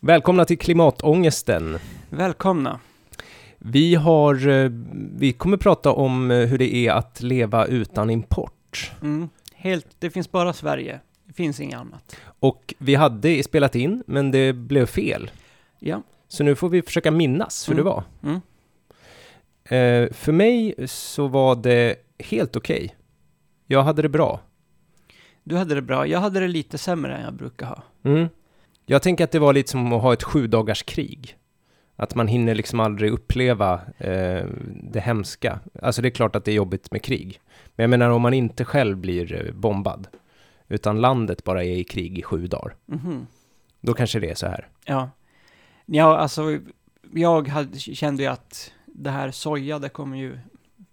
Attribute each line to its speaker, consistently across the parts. Speaker 1: Välkomna till Klimatångesten.
Speaker 2: Välkomna.
Speaker 1: Vi, har, eh, vi kommer prata om eh, hur det är att leva utan import.
Speaker 2: Mm. Helt, det finns bara Sverige. Det finns inget annat.
Speaker 1: Och vi hade spelat in, men det blev fel.
Speaker 2: Ja.
Speaker 1: Så nu får vi försöka minnas hur
Speaker 2: Mm.
Speaker 1: det var.
Speaker 2: Mm.
Speaker 1: Eh, för mig så var det helt okej. Jag hade det bra.
Speaker 2: Du hade det bra. Jag hade det lite sämre än jag brukar ha.
Speaker 1: Mm. Jag tänker att det var lite som att ha ett sju dagars krig. Att man hinner liksom aldrig uppleva eh, det hemska. Alltså det är klart att det är jobbigt med krig. Men jag menar om man inte själv blir eh, bombad, utan landet bara är i krig i sju dagar,
Speaker 2: Mhm.
Speaker 1: då kanske det är så här.
Speaker 2: Ja. Ja, alltså, jag hade, kände ju att det här soja, det kommer ju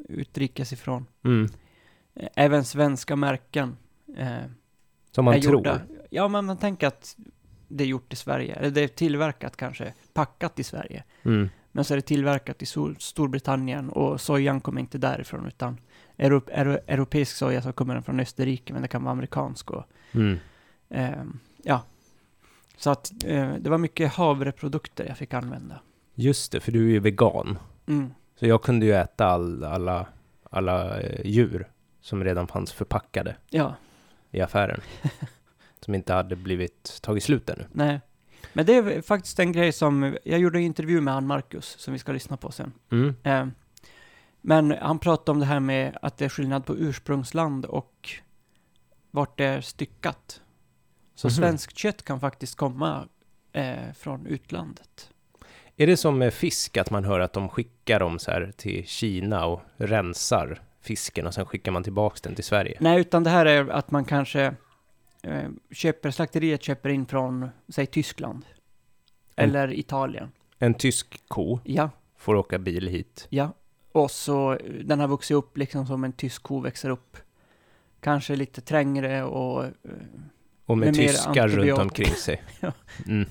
Speaker 2: utrikes ifrån.
Speaker 1: Mm.
Speaker 2: Eh, Även svenska märken. Eh,
Speaker 1: Som man
Speaker 2: är
Speaker 1: tror.
Speaker 2: gjorda- Ja, men man tänker att det är gjort i Sverige. Eller det är tillverkat kanske, packat i Sverige.
Speaker 1: Mm.
Speaker 2: Men så är det tillverkat i Sol- Storbritannien och sojan kommer inte därifrån utan Europ euro europeisk soja så kommer den från Österrike men det kan vara amerikansk och
Speaker 1: Mm.
Speaker 2: ehm, ja. Så att eh, det var mycket havreprodukter jag fick använda.
Speaker 1: Just det, för du är ju vegan.
Speaker 2: Mm.
Speaker 1: Så jag kunde ju äta all, alla, alla eh, djur som redan fanns förpackade
Speaker 2: Ja,
Speaker 1: i affären. som inte hade blivit tagit slut ännu.
Speaker 2: nej. Men det är faktiskt en grej som, jag gjorde en intervju med han Marcus som vi ska lyssna på sen.
Speaker 1: Mm.
Speaker 2: Ehm, men han pratade om det här med att det är skillnad på ursprungsland och vart det är styckat. Så
Speaker 1: Mhm.
Speaker 2: svenskt kött kan faktiskt komma eh, från utlandet.
Speaker 1: Är det som med fisk, att man hör att de skickar dem så här till Kina och rensar fisken och sen skickar man tillbaks den till Sverige?
Speaker 2: Nej, utan det här är att man kanske eh, köper, slakteriet köper in från, säg Tyskland.
Speaker 1: Mm.
Speaker 2: Eller Italien.
Speaker 1: En tysk ko
Speaker 2: Ja,
Speaker 1: får åka bil hit.
Speaker 2: ja. Och så eh, den har vuxit upp liksom som en tysk ko växer upp. Kanske lite trängre och eh,
Speaker 1: Och med,
Speaker 2: Med mer
Speaker 1: tyskar runt
Speaker 2: antibiotika.
Speaker 1: omkring sig.
Speaker 2: Ja.
Speaker 1: mm.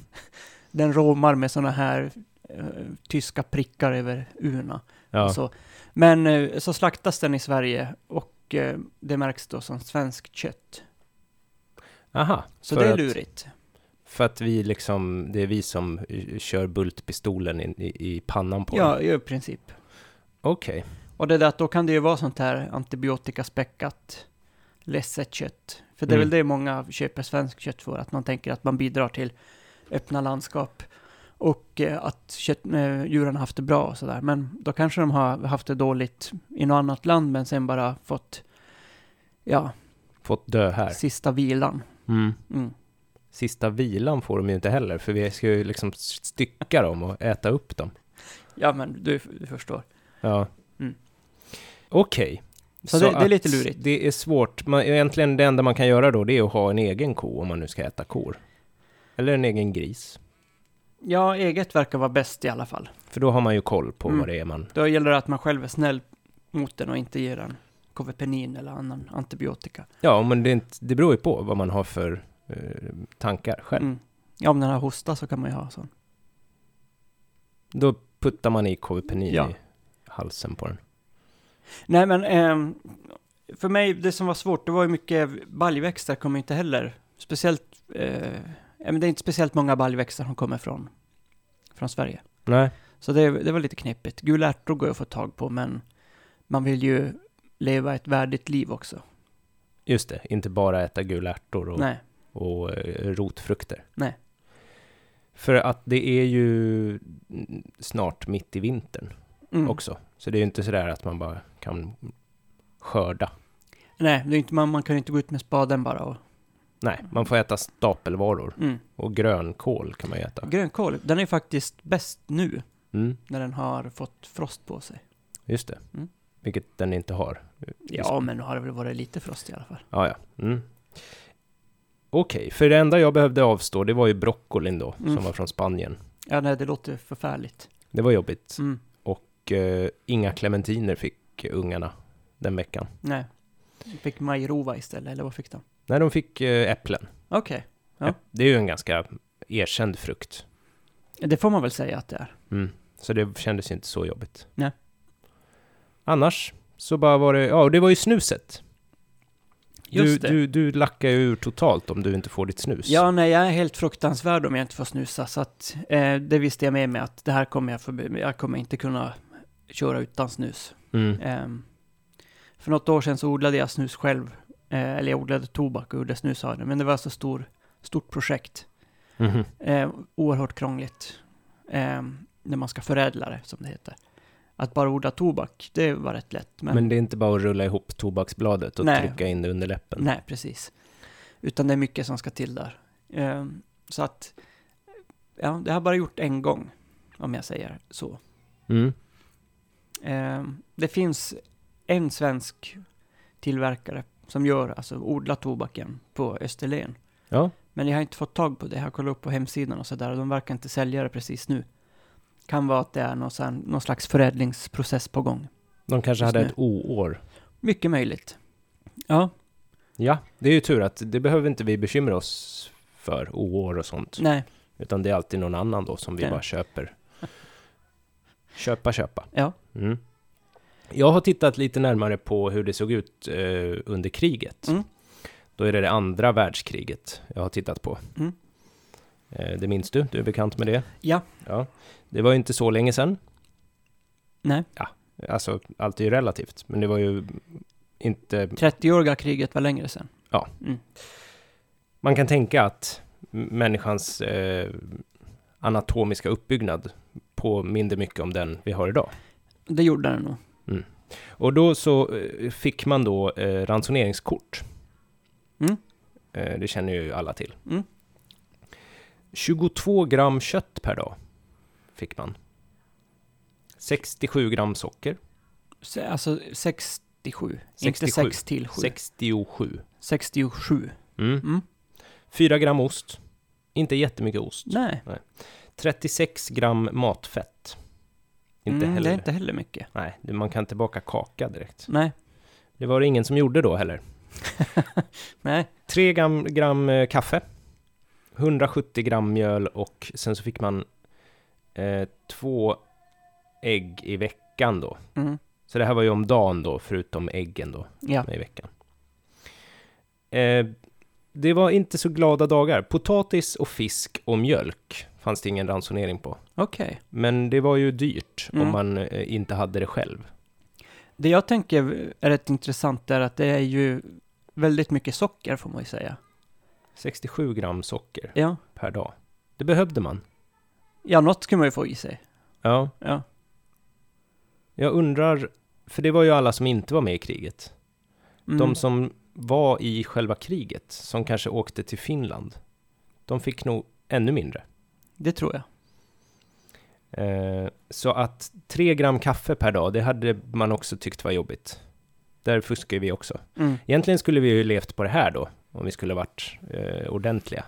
Speaker 2: den romar med sådana här eh, tyska prickar över urna.
Speaker 1: ja.
Speaker 2: Så. Men eh, så slaktas den i Sverige och eh, det märks då som svenskt kött.
Speaker 1: Aha,
Speaker 2: Så
Speaker 1: För
Speaker 2: det är
Speaker 1: att-
Speaker 2: lurigt.
Speaker 1: för att vi liksom, det är vi som eh, kör bultpistolen i, i, i pannan på den.
Speaker 2: Ja, i princip.
Speaker 1: Okej.
Speaker 2: Och det där att då kan det ju vara sånt här antibiotikaspäckat ledset kött. För det är
Speaker 1: Mm.
Speaker 2: väl det många köper svenskt kött för, att man tänker att man bidrar till öppna landskap. Och eh, att kött, eh, djuren har haft det bra och sådär. Men då kanske de har haft det dåligt i något annat land, men sen bara fått, ja,
Speaker 1: Fått dö här.
Speaker 2: sista vilan.
Speaker 1: Mm.
Speaker 2: Mm.
Speaker 1: Sista vilan får de ju inte heller, för vi ska ju liksom stycka dem och äta upp dem.
Speaker 2: Ja, men du, du förstår.
Speaker 1: Ja.
Speaker 2: Mm.
Speaker 1: Okej.
Speaker 2: Så det- det är
Speaker 1: att
Speaker 2: lite lurigt.
Speaker 1: Det är svårt. Man, egentligen det enda man kan göra då, det är att ha en egen ko om man nu ska äta kor. Eller en egen gris.
Speaker 2: Ja, eget verkar vara bäst i alla fall.
Speaker 1: För då har man ju koll på
Speaker 2: Mm.
Speaker 1: vad det är man...
Speaker 2: Då gäller det att man själv är snäll mot den och inte ger den kovepenin eller annan antibiotika.
Speaker 1: Ja, men det, är inte, det beror ju på vad man har för eh, tankar själv.
Speaker 2: Mm. Ja, om den har hosta så kan man ju ha sån.
Speaker 1: Då puttar man i kovipenin
Speaker 2: Ja.
Speaker 1: i halsen på den.
Speaker 2: Nej, men ehm, för mig, det som var svårt, det var ju mycket baljväxter kommer inte heller. Speciellt, eh, ja, men det är inte speciellt många baljväxter som kommer från, från Sverige.
Speaker 1: Nej.
Speaker 2: Så det, det var lite knepigt. Gula ärtor går ju att få tag på, men man vill ju leva ett värdigt liv också.
Speaker 1: Just det, inte bara äta gula ärtor och,
Speaker 2: Nej.
Speaker 1: och eh, rotfrukter.
Speaker 2: Nej.
Speaker 1: För att det är ju mm, snart mitt i vintern.
Speaker 2: Mm.
Speaker 1: också. Så det är ju inte sådär att man bara kan skörda.
Speaker 2: Nej, det är inte, man, man kan ju inte gå ut med spaden bara och...
Speaker 1: Nej, man får äta stapelvaror
Speaker 2: Mm.
Speaker 1: och grönkål kan man ju äta.
Speaker 2: Grönkål, den är faktiskt bäst nu
Speaker 1: Mm,
Speaker 2: när den har fått frost på sig.
Speaker 1: just det.
Speaker 2: Mm.
Speaker 1: Vilket den inte har.
Speaker 2: Ja, men nu har det väl varit lite frost i alla fall.
Speaker 1: Ja, ja. Mm. Okej, för det enda jag behövde avstå, det var ju broccolin då,
Speaker 2: Mm.
Speaker 1: som var från Spanien.
Speaker 2: Ja, nej, det låter förfärligt.
Speaker 1: Det var jobbigt.
Speaker 2: Mm,
Speaker 1: Och eh, inga clementiner fick ungarna den veckan.
Speaker 2: nej. Fick majrova istället, eller vad fick de?
Speaker 1: Nej, de fick eh, äpplen.
Speaker 2: Okej, Ja.
Speaker 1: Äpp- Det är ju en ganska erkänd frukt.
Speaker 2: det får man väl säga att det är.
Speaker 1: Mm. Så det kändes ju inte så jobbigt.
Speaker 2: Nej.
Speaker 1: Annars så bara var det, ja och det var ju snuset. Du,
Speaker 2: Just det.
Speaker 1: du, du lackar ju ur totalt om du inte får ditt snus.
Speaker 2: Ja, nej, jag är helt fruktansvärd om jag inte får snusa, så att eh, det visste jag med mig att det här kommer jag förbi, jag kommer inte kunna köra utan snus.
Speaker 1: Mm.
Speaker 2: Ehm, för något år sedan så odlade jag snus själv, eh, eller jag odlade tobak och gjorde snus av det, men det var så stor, stort projekt.
Speaker 1: Mhm.
Speaker 2: Eh, oerhört krångligt. Eh, när man ska förädla det, som det heter. Att bara odla tobak, det var rätt lätt. Men,
Speaker 1: Men... det är inte bara att rulla ihop tobaksbladet och
Speaker 2: Nej.
Speaker 1: trycka in det under läppen.
Speaker 2: nej, precis. Utan det är mycket som ska till där. Eh, så att, ja, det har jag bara gjort en gång, om jag säger så.
Speaker 1: Mm.
Speaker 2: Eh, det finns en svensk tillverkare som gör, alltså odlar tobaken på Österlen.
Speaker 1: Ja,
Speaker 2: Men jag har inte fått tag på det. Jag har kollat upp på hemsidan och sådär. och De verkar inte sälja det precis nu. Kan vara att det är någon, sån, någon slags förädlingsprocess på gång.
Speaker 1: de kanske
Speaker 2: Just
Speaker 1: hade
Speaker 2: nu.
Speaker 1: ett o-år.
Speaker 2: Mycket möjligt. Ja,
Speaker 1: Ja, det är ju tur att det behöver inte vi bekymra oss för, o-år och sånt.
Speaker 2: nej,
Speaker 1: Utan det är alltid någon annan då som vi
Speaker 2: Ja.
Speaker 1: bara köper. Köpa, köpa.
Speaker 2: ja,
Speaker 1: Mm. Jag har tittat lite närmare på hur det såg ut eh, under kriget.
Speaker 2: Mm.
Speaker 1: Då är det det andra världskriget jag har tittat på.
Speaker 2: Mm.
Speaker 1: Eh, det minns du, du är bekant med det.
Speaker 2: Ja.
Speaker 1: ja. Det var ju inte så länge sedan.
Speaker 2: nej.
Speaker 1: Alltså, allt är ju relativt, men det var ju inte...
Speaker 2: 30-åriga kriget var längre sedan.
Speaker 1: Man kan tänka att m- människans eh, anatomiska uppbyggnad påminner mycket om den vi har idag.
Speaker 2: Det gjorde det nog.
Speaker 1: Och då så eh, fick man då eh, ransoneringskort.
Speaker 2: Mm.
Speaker 1: Eh, det känner ju alla till.
Speaker 2: Mm.
Speaker 1: 22 gram kött per dag fick man. 67 gram socker.
Speaker 2: Se- Alltså 67. Inte
Speaker 1: 67.
Speaker 2: 6 till 7.
Speaker 1: 67.
Speaker 2: 67.
Speaker 1: Mm.
Speaker 2: Mm.
Speaker 1: 4 gram ost. Inte jättemycket ost.
Speaker 2: Nej,
Speaker 1: 36 gram matfett. Inte
Speaker 2: mm, det
Speaker 1: heller.
Speaker 2: är inte heller mycket.
Speaker 1: Nej, det- man kan inte baka kaka direkt.
Speaker 2: Nej,
Speaker 1: Det var det ingen som gjorde då heller.
Speaker 2: nej.
Speaker 1: 3 gram, gram eh, kaffe, 170 gram mjöl och sen så fick man eh, två ägg i veckan då.
Speaker 2: Mm.
Speaker 1: Så det här var ju om dagen då, förutom äggen då
Speaker 2: Ja,
Speaker 1: i veckan. Eh, det var inte så glada dagar. Potatis och fisk och mjölk fanns det ingen ransonering på.
Speaker 2: okej.
Speaker 1: Men det var ju dyrt
Speaker 2: Mm.
Speaker 1: om man eh, inte hade det själv.
Speaker 2: Det jag tänker är rätt intressant är att det är ju väldigt mycket socker får man ju säga.
Speaker 1: 67 gram socker
Speaker 2: Ja,
Speaker 1: per dag. Det behövde man.
Speaker 2: ja något skulle man ju få i sig.
Speaker 1: Ja.
Speaker 2: Ja.
Speaker 1: Jag undrar, för det var ju alla som inte var med i kriget.
Speaker 2: Mm.
Speaker 1: De som var i själva kriget, som kanske åkte till Finland, de fick nog ännu mindre.
Speaker 2: Det tror jag.
Speaker 1: Eh, så att 3 gram kaffe per dag, det hade man också tyckt var jobbigt. Där fuskar vi också.
Speaker 2: Mm.
Speaker 1: Egentligen skulle vi ju levt på det här då, om vi skulle varit eh, ordentliga.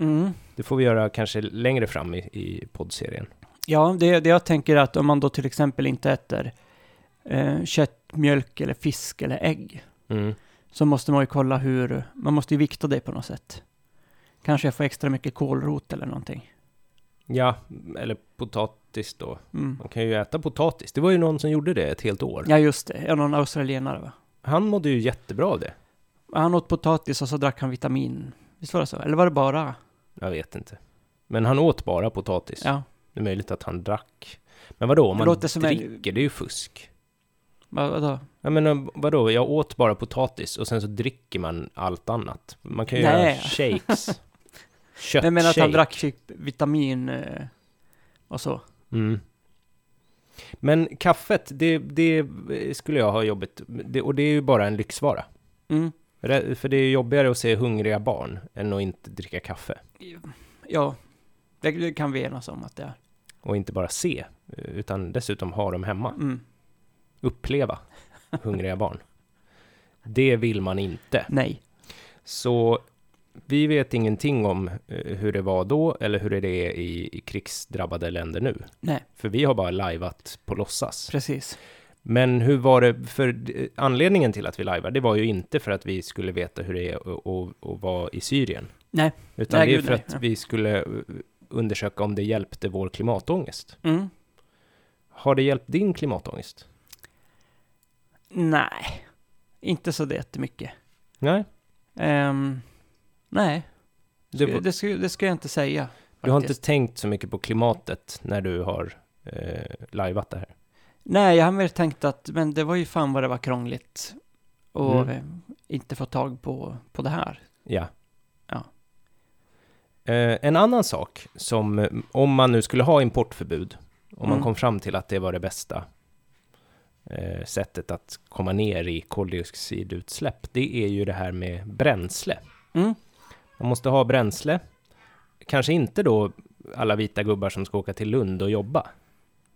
Speaker 2: Mm.
Speaker 1: Det får vi göra kanske längre fram i, i poddserien.
Speaker 2: Ja, det, det jag tänker är att om man då till exempel inte äter eh, kött, mjölk eller fisk eller ägg
Speaker 1: Mm.
Speaker 2: så måste man ju kolla hur, man måste ju vikta det på något sätt. Kanske jag får extra mycket kålrot eller någonting.
Speaker 1: Ja, eller potatis då.
Speaker 2: Mm.
Speaker 1: Man kan ju äta potatis. Det var ju någon som gjorde det ett helt år.
Speaker 2: Ja, just det. Är någon australienare va?
Speaker 1: Han mådde ju jättebra av det.
Speaker 2: Han åt potatis och så drack han vitamin. Visst var det så? Eller var det bara?
Speaker 1: Jag vet inte. Men han åt bara potatis.
Speaker 2: Ja.
Speaker 1: Det är möjligt att han drack. Men vadå, om
Speaker 2: Det
Speaker 1: man
Speaker 2: låter som en-
Speaker 1: dricker, det är ju fusk.
Speaker 2: Vad, vadå?
Speaker 1: Jag menar, vadå, jag åt bara potatis och sen så dricker man allt annat. Man kan ju göra
Speaker 2: Nej.
Speaker 1: shakes. Köttshake.
Speaker 2: Jag menar att han drack typ vitamin eh, och så.
Speaker 1: Mm. Men kaffet, det, det skulle jag ha jobbigt. Det, och det är ju bara en lyxvara.
Speaker 2: Mm.
Speaker 1: Rä- För det är ju jobbigare att se hungriga barn än att inte dricka kaffe.
Speaker 2: Ja, det, det kan vi enas om att det är.
Speaker 1: Och inte bara se, utan dessutom ha dem hemma.
Speaker 2: Mm.
Speaker 1: Uppleva hungriga barn. Det vill man inte.
Speaker 2: Nej.
Speaker 1: Så vi vet ingenting om eh, hur det var då eller hur det är i, i krigsdrabbade länder nu.
Speaker 2: Nej,
Speaker 1: För vi har bara lajvat på låtsas.
Speaker 2: precis.
Speaker 1: Men hur var det, för eh, anledningen till att vi lajvar, det var ju inte för att vi skulle veta hur det är att- att att vara i Syrien.
Speaker 2: Nej.
Speaker 1: Utan
Speaker 2: Nej,
Speaker 1: det är
Speaker 2: gud,
Speaker 1: för
Speaker 2: nej.
Speaker 1: att vi skulle eh, undersöka om det hjälpte vår klimatångest.
Speaker 2: Mm.
Speaker 1: Har det hjälpt din klimatångest?
Speaker 2: Nej, inte så det jättemycket.
Speaker 1: Nej.
Speaker 2: Ehm, nej,
Speaker 1: Du,
Speaker 2: det, det, skulle, det skulle jag inte säga.
Speaker 1: du har inte
Speaker 2: faktiskt.
Speaker 1: tänkt så mycket på klimatet när du har eh, lajvat det här.
Speaker 2: Nej, jag har mer tänkt att, men det var ju fan vad det var krångligt. Och
Speaker 1: Mm.
Speaker 2: eh, inte få tag på, på det här.
Speaker 1: Ja.
Speaker 2: Ja.
Speaker 1: Eh, en annan sak som, eh, om man nu skulle ha importförbud, om man
Speaker 2: Mm.
Speaker 1: kom fram till att det var det bästa eh, sättet att komma ner i koldioxidutsläpp, det är ju det här med bränsle.
Speaker 2: Mm.
Speaker 1: Man måste ha bränsle. Kanske inte då alla vita gubbar som ska åka till Lund och jobba.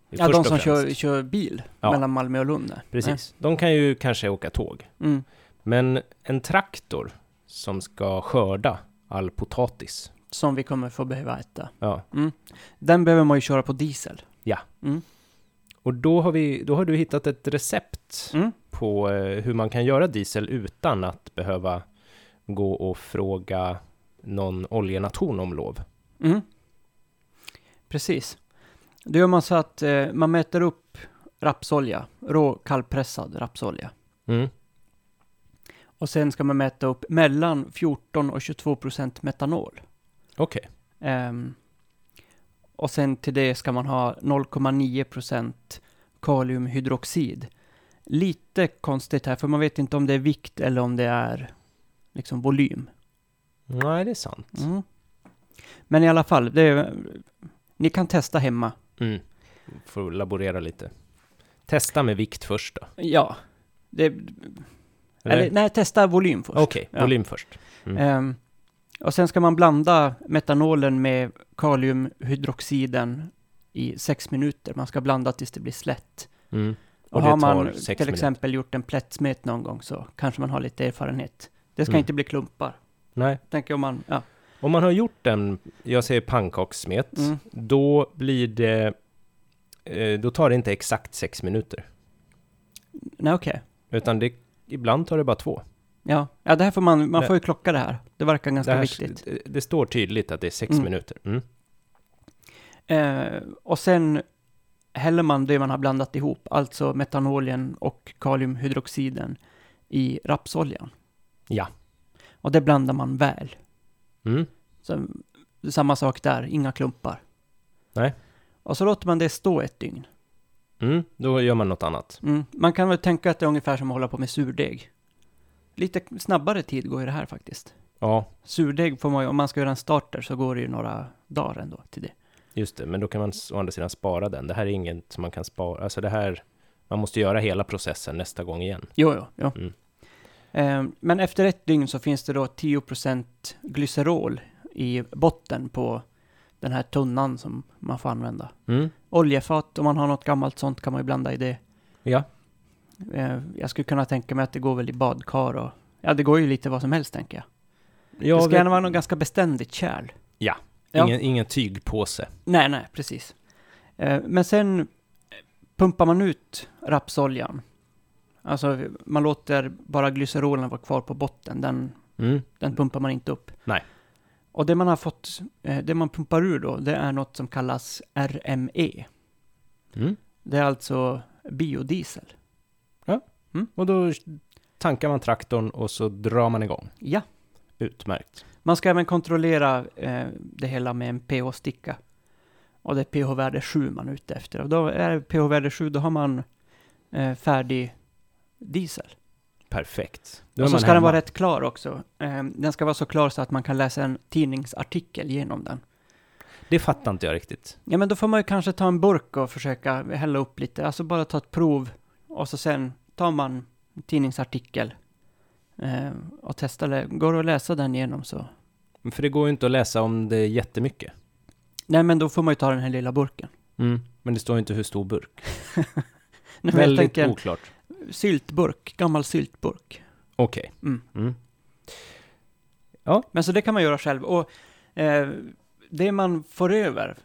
Speaker 2: Ja,
Speaker 1: Först
Speaker 2: de
Speaker 1: och
Speaker 2: som kör,
Speaker 1: främst.
Speaker 2: kör bil
Speaker 1: Ja.
Speaker 2: mellan Malmö och Lund. nej.
Speaker 1: Precis. De kan ju kanske åka tåg.
Speaker 2: Nej. Mm.
Speaker 1: Men en traktor som ska skörda all potatis.
Speaker 2: Som vi kommer få behöva äta.
Speaker 1: Ja.
Speaker 2: Den behöver man ju köra på diesel.
Speaker 1: Och då har, vi, då har du hittat ett recept
Speaker 2: Mm.
Speaker 1: på eh, hur man kan göra diesel utan att behöva gå och fråga någon oljenation om lov.
Speaker 2: Mm. Precis. Då gör man så att eh, man mäter upp rapsolja, rå kallpressad rapsolja.
Speaker 1: Mm.
Speaker 2: Och sen ska man mäta upp mellan 14 och 22 procent metanol.
Speaker 1: Okej.
Speaker 2: Ehm, och sen till det ska man ha 0,9 procent kaliumhydroxid. Lite konstigt här, för man vet inte om det är vikt eller om det är liksom volym.
Speaker 1: Nej, det är sant.
Speaker 2: Mm. Men i alla fall, det är, ni kan testa hemma.
Speaker 1: Mm. Får laborera lite. Testa med vikt först då.
Speaker 2: Ja. Det,
Speaker 1: Eller?
Speaker 2: eller, nej, testa volym först.
Speaker 1: Okej,
Speaker 2: Ja.
Speaker 1: volym först.
Speaker 2: Ehm, och sen ska man blanda metanolen med kaliumhydroxiden i sex minuter. Man ska blanda tills det blir slätt.
Speaker 1: Mm.
Speaker 2: Och,
Speaker 1: Och det
Speaker 2: har
Speaker 1: tar
Speaker 2: man
Speaker 1: sex
Speaker 2: till
Speaker 1: minuter.
Speaker 2: exempel gjort en plättsmet någon gång så kanske man har lite erfarenhet. Det ska
Speaker 1: Mm.
Speaker 2: inte bli klumpar.
Speaker 1: Nej.
Speaker 2: Tänker om man, ja.
Speaker 1: Om man har gjort en, jag säger pannkakssmet,
Speaker 2: Mm.
Speaker 1: då blir det, eh, då tar det inte exakt sex minuter.
Speaker 2: Nej, okej.
Speaker 1: Utan det, ibland tar det bara två.
Speaker 2: Ja. ja, det här får man, man
Speaker 1: Det-
Speaker 2: får ju klocka det här. Det verkar ganska
Speaker 1: det, här-
Speaker 2: viktigt.
Speaker 1: det, det står tydligt att det är sex
Speaker 2: Mm.
Speaker 1: minuter. Mm.
Speaker 2: Eh, och sen häller man det man har blandat ihop, alltså metanolen och kaliumhydroxiden, i rapsoljan.
Speaker 1: Ja.
Speaker 2: Och det blandar man väl.
Speaker 1: Mm.
Speaker 2: Så, samma sak där, inga klumpar.
Speaker 1: Nej.
Speaker 2: Och så låter man det stå ett dygn.
Speaker 1: Mm. Då gör man något annat.
Speaker 2: Mm. Man kan väl tänka att det är ungefär som att hålla på med surdeg. Lite snabbare tid går ju det här faktiskt.
Speaker 1: Ja,
Speaker 2: Surdeg får man ju, om man ska göra en starter så går det ju några dagar ändå till det.
Speaker 1: just det. Men då kan man s- å andra sidan spara den. Det här är inget som man kan spara. Alltså det här, man måste göra hela processen nästa gång igen.
Speaker 2: Jo, jo, jo.
Speaker 1: Mm.
Speaker 2: Eh, men efter ett dygn så finns det då 10% glycerol i botten på den här tunnan som man får använda.
Speaker 1: Mm.
Speaker 2: Oljefat, om man har något gammalt sånt kan man ju blanda i det.
Speaker 1: Ja.
Speaker 2: Eh, jag skulle kunna tänka mig att det går väl i badkar och... Ja, det går ju lite vad som helst tänker jag.
Speaker 1: Ja,
Speaker 2: det ska
Speaker 1: vi-
Speaker 2: gärna vara något ganska beständigt kärl. Ja.
Speaker 1: Ingen, ingen tygpåse.
Speaker 2: Nej, nej, precis. Eh, men sen pumpar man ut rapsoljan. Alltså, man låter bara glycerolen vara kvar på botten. Den
Speaker 1: Mm.
Speaker 2: Den pumpar man inte upp.
Speaker 1: Nej.
Speaker 2: Och det man har fått, eh, det man pumpar ur då, det är något som kallas RME.
Speaker 1: Mm.
Speaker 2: Det är alltså biodiesel.
Speaker 1: Och då tankar man traktorn och så drar man igång.
Speaker 2: Ja.
Speaker 1: Utmärkt.
Speaker 2: Man ska även kontrollera eh, det hela med en pH-sticka. Och det är pH-värde 7 man är ute efter. Och då är det pH-värde 7, då har man eh, färdig diesel.
Speaker 1: Perfekt. Då är
Speaker 2: Och så
Speaker 1: man
Speaker 2: ska den
Speaker 1: hemma.
Speaker 2: vara rätt klar också. Eh, den ska vara så klar så att man kan läsa en tidningsartikel genom den.
Speaker 1: Det fattar inte jag riktigt.
Speaker 2: Ja, men då får man ju kanske ta en burk och försöka hälla upp lite. Alltså bara ta ett prov och så sen tar man en tidningsartikel eh, och testar. det. Går det att läsa den igenom så?
Speaker 1: För det går ju inte att läsa om det är jättemycket.
Speaker 2: Nej, men då får man ju ta den här lilla burken.
Speaker 1: Men det står ju inte hur stor burk.
Speaker 2: Nej, Mm. men jag
Speaker 1: Väldigt
Speaker 2: tänker en
Speaker 1: oklart.
Speaker 2: syltburk, gammal syltburk.
Speaker 1: Okej.
Speaker 2: Mm.
Speaker 1: Mm.
Speaker 2: Men så det kan man göra själv. Och eh, det man får över,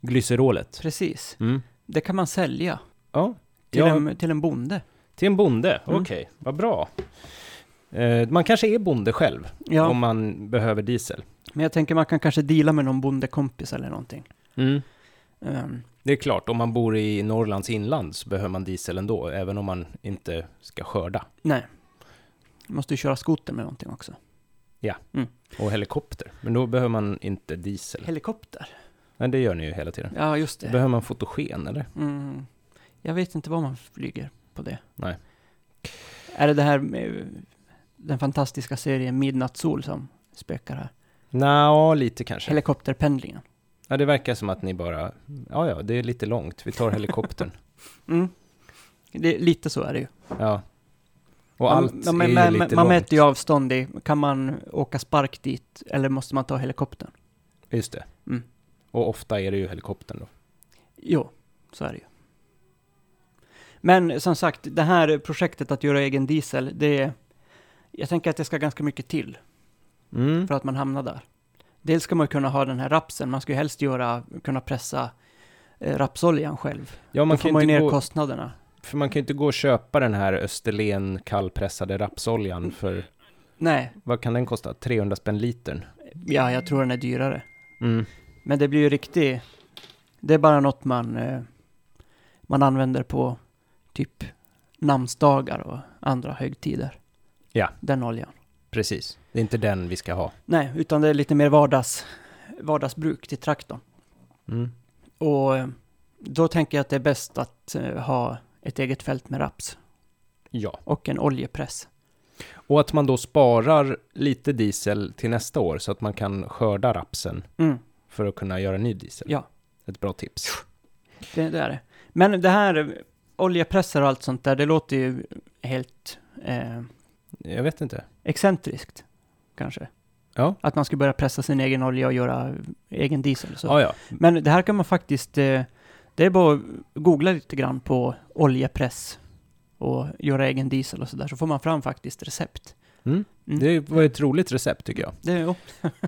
Speaker 1: Glycerolet.
Speaker 2: precis,
Speaker 1: Mm.
Speaker 2: det kan man sälja
Speaker 1: Ja.
Speaker 2: till,
Speaker 1: Till, ja, en...
Speaker 2: en, till en bonde.
Speaker 1: till en bonde.
Speaker 2: Mm.
Speaker 1: Okej, vad bra. Eh, man kanske är bonde själv
Speaker 2: Ja,
Speaker 1: om man behöver diesel.
Speaker 2: men jag tänker man kan kanske deala med någon bondekompis eller någonting.
Speaker 1: Mm.
Speaker 2: Ehm,
Speaker 1: Det är klart, om man bor i Norrlands inland så behöver man diesel ändå, även om man inte ska skörda.
Speaker 2: Nej. Du måste ju köra skoter med någonting också.
Speaker 1: Och helikopter. Men då behöver man inte diesel.
Speaker 2: Helikopter?
Speaker 1: Men det gör ni ju hela tiden.
Speaker 2: Ja, just det.
Speaker 1: Behöver man fotogen eller?
Speaker 2: Mm. Jag vet inte vad man flyger på det.
Speaker 1: Nej.
Speaker 2: Är det det här med den fantastiska serien Midnatt Sol som spökar här?
Speaker 1: Nja, lite kanske.
Speaker 2: Helikopterpendlingen.
Speaker 1: ja, det verkar som att ni bara, ja, ja, det är lite långt. Vi tar helikoptern.
Speaker 2: Mm. Det, lite så är det ju.
Speaker 1: ja. Och allt
Speaker 2: man,
Speaker 1: är ju
Speaker 2: man,
Speaker 1: lite
Speaker 2: man
Speaker 1: långt.
Speaker 2: mäter ju avstånd i, kan man åka spark dit eller måste man ta helikoptern?
Speaker 1: Just det.
Speaker 2: Mm.
Speaker 1: Och ofta är det ju helikoptern då.
Speaker 2: Jo, så är det ju. Men som sagt, det här projektet att göra egen diesel, det... Jag tänker att det ska ganska mycket till
Speaker 1: Mm.
Speaker 2: för att man hamnar där. Dels ska man kunna ha den här rapsen, man ska ju helst göra, kunna pressa eh, rapsoljan själv.
Speaker 1: Ja,
Speaker 2: Man
Speaker 1: man
Speaker 2: Då
Speaker 1: kan,
Speaker 2: får man ju
Speaker 1: inte gå,
Speaker 2: ner kostnaderna.
Speaker 1: för man kan ju inte gå och köpa den här Österlen kallpressade rapsoljan för,
Speaker 2: Nej,
Speaker 1: vad kan den kosta? 300 spänn litern?
Speaker 2: ja, jag tror den är dyrare.
Speaker 1: Mm.
Speaker 2: Men det blir ju riktigt... Det är bara något man, eh, man använder på typ namnsdagar och andra högtider.
Speaker 1: Ja.
Speaker 2: Den oljan.
Speaker 1: Precis. Det är inte den vi ska ha.
Speaker 2: Nej, utan det är lite mer vardags, vardagsbruk till traktorn.
Speaker 1: Mm.
Speaker 2: Och eh, då tänker jag att det är bäst att eh, ha ett eget fält med raps
Speaker 1: Ja.
Speaker 2: och en oljepress.
Speaker 1: Och att man då sparar lite diesel till nästa år så att man kan skörda rapsen
Speaker 2: Mm,
Speaker 1: för att kunna göra ny diesel.
Speaker 2: Ja.
Speaker 1: Ett bra tips.
Speaker 2: det, det är det. Men det här, eh, oljepressar och allt sånt där, det låter ju helt eh,
Speaker 1: Jag vet inte.
Speaker 2: excentriskt, kanske.
Speaker 1: Ja.
Speaker 2: Att man ska börja pressa sin egen olja och göra egen diesel. Så.
Speaker 1: Ja, ja.
Speaker 2: Men det här kan man faktiskt, eh, det är bara att googla lite grann på oljepress och göra egen diesel och sådär, så får man fram faktiskt recept.
Speaker 1: Mm.
Speaker 2: Mm.
Speaker 1: Det var ett roligt recept tycker jag.
Speaker 2: Det, ja.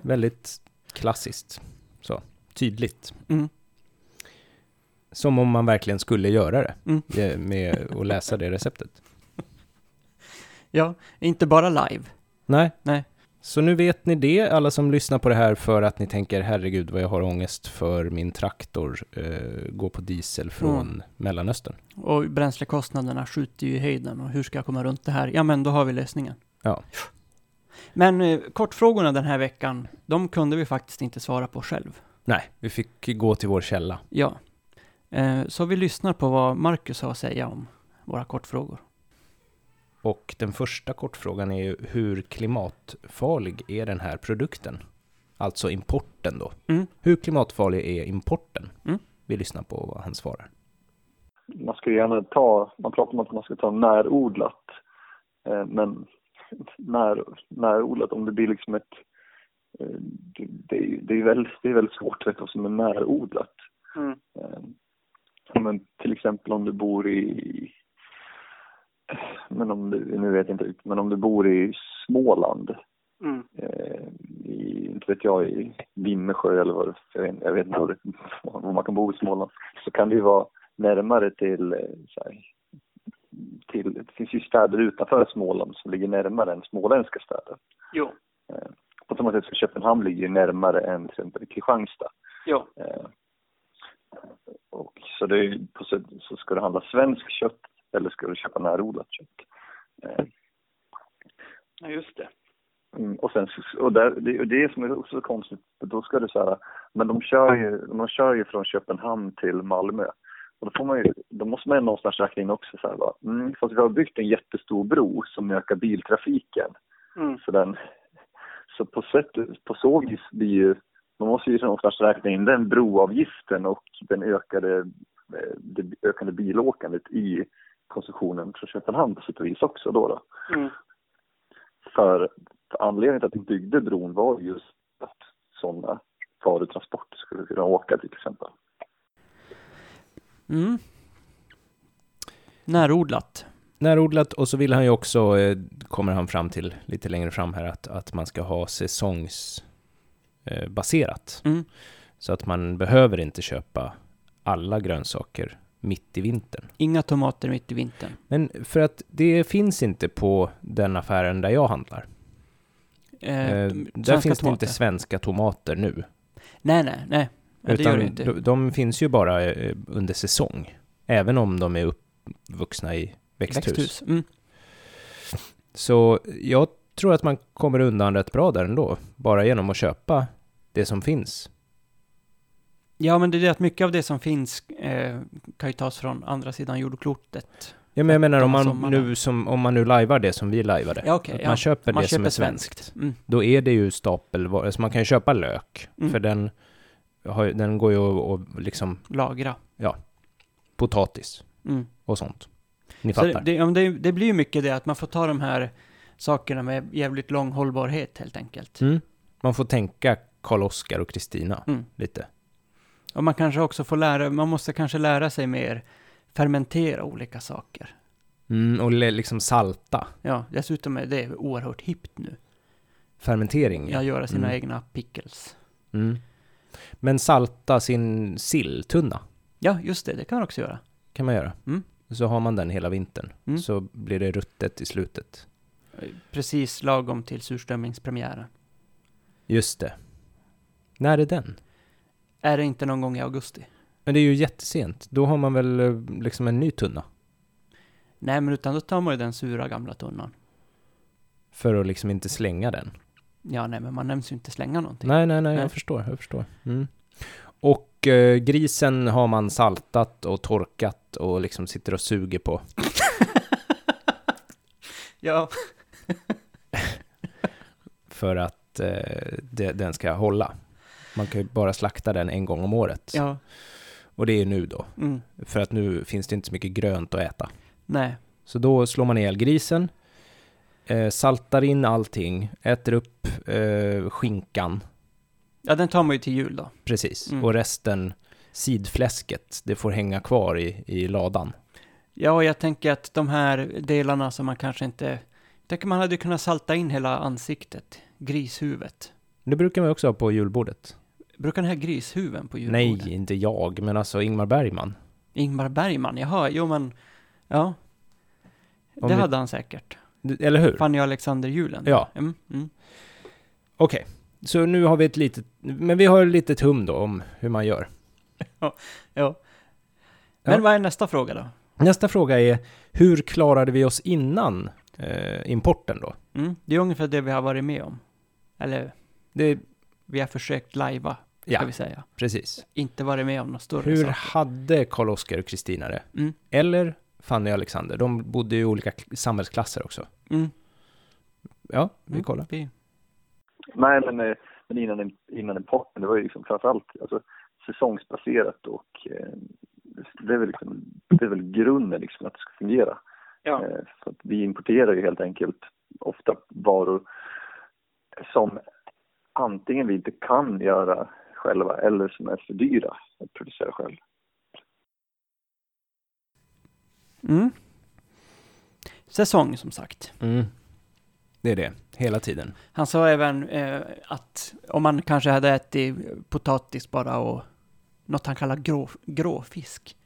Speaker 1: Väldigt klassiskt. Så. Tydligt.
Speaker 2: mm.
Speaker 1: Som om man verkligen skulle göra det.
Speaker 2: Mm.
Speaker 1: eh, Med att läsa det receptet.
Speaker 2: ja, inte bara live.
Speaker 1: Nej.
Speaker 2: Nej.
Speaker 1: Så nu vet ni det, alla som lyssnar på det här, för att ni tänker herregud vad jag har ångest för min traktor eh, går på diesel från
Speaker 2: Mm.
Speaker 1: Mellanöstern.
Speaker 2: Och bränslekostnaderna skjuter ju i höjden och hur ska jag komma runt det här? Ja, men då har vi lösningen.
Speaker 1: Ja.
Speaker 2: Men eh, kortfrågorna den här veckan, de kunde vi faktiskt inte svara på själv.
Speaker 1: Nej, vi fick gå till vår källa.
Speaker 2: Ja. Eh, så vi lyssnar på vad Marcus har att säga om våra kortfrågor.
Speaker 1: Och den första kortfrågan är ju hur klimatfarlig är den här produkten? Alltså importen då.
Speaker 2: Mm.
Speaker 1: Hur klimatfarlig är importen?
Speaker 2: Mm.
Speaker 1: Vi lyssnar på vad han svarar.
Speaker 3: man ska ju gärna ta, man pratar om att man ska ta närodlat. Eh, men när, närodlat, om det blir liksom ett, eh, det, det, är ju- det, är väldigt, det är väldigt svårt att veta vad som är närodlat.
Speaker 2: Mm.
Speaker 3: Eh, ja, men till exempel om du bor i, men om du, nu vet jag inte, men om du bor i Småland, eh, i, inte vet jag, i Vimmersjö eller vad det- jag vet, jag vet inte vad det, var man kan bo i Småland, så kan det ju vara närmare till, eh, så här, till, det finns ju städer utanför Småland som ligger närmare än småländska städer.
Speaker 2: Jo.
Speaker 3: Eh, På samma sätt så Köpenhamn ligger ju närmare än till exempel Kristianstad.
Speaker 2: Jo.
Speaker 3: Eh, Och så, det är, ju- på sätt, så ska du handla svenskt kött eller ska du köpa närodlat kött. Eh,
Speaker 2: Ja, just det.
Speaker 3: Mm, och, sen, och, där, det, och det som är också konstigt, för då ska du så här, men de kör ju, de kör ju från Köpenhamn till Malmö. Och då, får man ju, då måste man ju någonstans räkna in också så här, va, mm, fast vi har byggt en jättestor bro som ökar biltrafiken.
Speaker 2: Mm.
Speaker 3: Så, den, så på, sätt, på så vis blir ju, man måste ju någonstans räkna in den broavgiften och den ökade, eh, det ökade bilåkandet i konsumtionen från Köpenhamn på sätt och vis också då. då.
Speaker 2: Mm.
Speaker 3: För anledningen till att vi byggde bron var just att sådana varutransporter skulle kunna åka till exempel.
Speaker 2: Mm. Närodlat.
Speaker 1: Närodlat och så vill han ju också, eh, kommer han fram till lite längre fram här, att, att man ska ha säsongsbaserat. Eh, baserat.
Speaker 2: Mm.
Speaker 1: så att man behöver inte köpa alla grönsaker mitt i vintern.
Speaker 2: Inga tomater mitt i vintern.
Speaker 1: Men för att det finns inte på den affären där jag handlar.
Speaker 2: Eh,
Speaker 1: Eh,
Speaker 2: de-
Speaker 1: där
Speaker 2: svenska
Speaker 1: finns det
Speaker 2: tomater.
Speaker 1: inte svenska tomater nu.
Speaker 2: Nej, nej, nej. Ja, det gör det inte.
Speaker 1: de, de finns ju bara eh, under säsong. Även om de är uppvuxna i växthus.
Speaker 2: Mm.
Speaker 1: Så jag tror att man kommer undan rätt bra där ändå, bara genom att köpa det som finns.
Speaker 2: Ja, men det är det att mycket av det som finns eh, kan ju tas från andra sidan jordklotet.
Speaker 1: Ja, men jag menar om
Speaker 2: De
Speaker 1: man,
Speaker 2: sommarna.
Speaker 1: nu som, om man nu lajvar det som vi lajvade,
Speaker 2: Ja, okej.
Speaker 1: att
Speaker 2: ja.
Speaker 1: man köper
Speaker 2: Man
Speaker 1: det som
Speaker 2: köper
Speaker 1: är svenskt,
Speaker 2: Mm.
Speaker 1: då är det ju stapelvaror, så man kan ju köpa lök,
Speaker 2: Mm.
Speaker 1: för den, har, ju- den går ju att att liksom
Speaker 2: Lagra.
Speaker 1: potatis
Speaker 2: Mm.
Speaker 1: och sånt. Ni
Speaker 2: Så
Speaker 1: fattar.
Speaker 2: det, det, ja, men det, det blir ju mycket det att man får ta de här sakerna med jävligt lång hållbarhet helt enkelt.
Speaker 1: Mm. Man får tänka Karl-Oskar och Kristina
Speaker 2: Mm.
Speaker 1: lite.
Speaker 2: Och man kanske också får lära, man måste kanske lära sig mer fermentera olika saker.
Speaker 1: Mm, och le- liksom salta.
Speaker 2: Ja, dessutom är det oerhört hippt nu.
Speaker 1: Fermentering.
Speaker 2: Att göra sina
Speaker 1: Mm.
Speaker 2: egna pickles.
Speaker 1: Mm. Men salta sin silltunna
Speaker 2: Ja, just det, det kan man också göra.
Speaker 1: kan man göra.
Speaker 2: Mm.
Speaker 1: Så har man den hela vintern.
Speaker 2: Mm.
Speaker 1: Så blir det ruttet i slutet.
Speaker 2: Precis lagom till surströmmingspremiären.
Speaker 1: Just det. När är den?
Speaker 2: Är det inte någon gång i augusti?
Speaker 1: Men det är ju jättesent. Då har man väl eh, liksom en ny tunna.
Speaker 2: Nej, men utan då tar man ju den sura gamla tunnan.
Speaker 1: För att liksom inte slänga den.
Speaker 2: Ja, nej, men man nämns ju inte slänga någonting.
Speaker 1: Nej, nej, nej,
Speaker 2: Nej.
Speaker 1: jag förstår. Jag förstår. Mm. Och eh, grisen har man saltat och torkat och liksom sitter och suger på.
Speaker 2: Ja,
Speaker 1: för att eh, det, den ska hålla. Man kan ju bara slakta den en gång om året.
Speaker 2: ja.
Speaker 1: Och det är nu då,
Speaker 2: Mm.
Speaker 1: för att nu finns det inte så mycket grönt att äta.
Speaker 2: Nej,
Speaker 1: Så då slår man ihjäl grisen, eh, saltar in allting, äter upp eh, skinkan,
Speaker 2: ja, den tar man ju till jul då.
Speaker 1: precis,
Speaker 2: Mm.
Speaker 1: och resten, sidfläsket, det får hänga kvar i, i ladan.
Speaker 2: Ja, och jag tänker att de här delarna som man kanske inte... Tänk om man hade kunnat salta in hela ansiktet, grishuvudet.
Speaker 1: Det brukar man ju också ha på julbordet.
Speaker 2: Brukar den här grishuven på julbordet?
Speaker 1: Nej, inte jag, men alltså Ingmar Bergman.
Speaker 2: Ingmar Bergman, jaha, jo men... Ja.
Speaker 1: Om
Speaker 2: det
Speaker 1: vi-
Speaker 2: hade han säkert.
Speaker 1: D- Eller hur?
Speaker 2: Fanny Alexander-julen.
Speaker 1: Ja.
Speaker 2: Mm, mm.
Speaker 1: Okej, så nu har vi ett litet, men vi har ett litet hum då om hur man gör.
Speaker 2: ja. Men
Speaker 1: Ja.
Speaker 2: vad är nästa fråga då?
Speaker 1: Nästa fråga är, hur klarade vi oss innan eh, importen då?
Speaker 2: Mm. Det är ungefär det vi har varit med om. Eller,
Speaker 1: Det,
Speaker 2: vi har försökt lajva, ska
Speaker 1: ja,
Speaker 2: vi säga.
Speaker 1: precis.
Speaker 2: Inte varit med om något större
Speaker 1: Hur
Speaker 2: sak.
Speaker 1: hade Karl-Oskar och Kristina det?
Speaker 2: Mm.
Speaker 1: Eller Fanny och Alexander? De bodde ju i olika k- samhällsklasser också.
Speaker 2: Mm.
Speaker 1: Ja, vi
Speaker 2: Mm.
Speaker 1: kollar.
Speaker 2: Vi-
Speaker 3: Nej, men, eh, men innan, innan importen, det var ju liksom framförallt alltså, säsongsbaserat och eh, det är väl, liksom, det är väl grunden liksom att det ska fungera.
Speaker 2: Ja.
Speaker 3: Eh, För att vi importerar ju helt enkelt ofta varor som antingen vi inte kan göra själva eller som är för dyra att producera själv.
Speaker 2: Mm. Säsong, som sagt.
Speaker 1: Mm. Det är det, hela tiden.
Speaker 2: Han sa även eh, att om man kanske hade ätit potatis bara och något han kallar grå, gråfisk.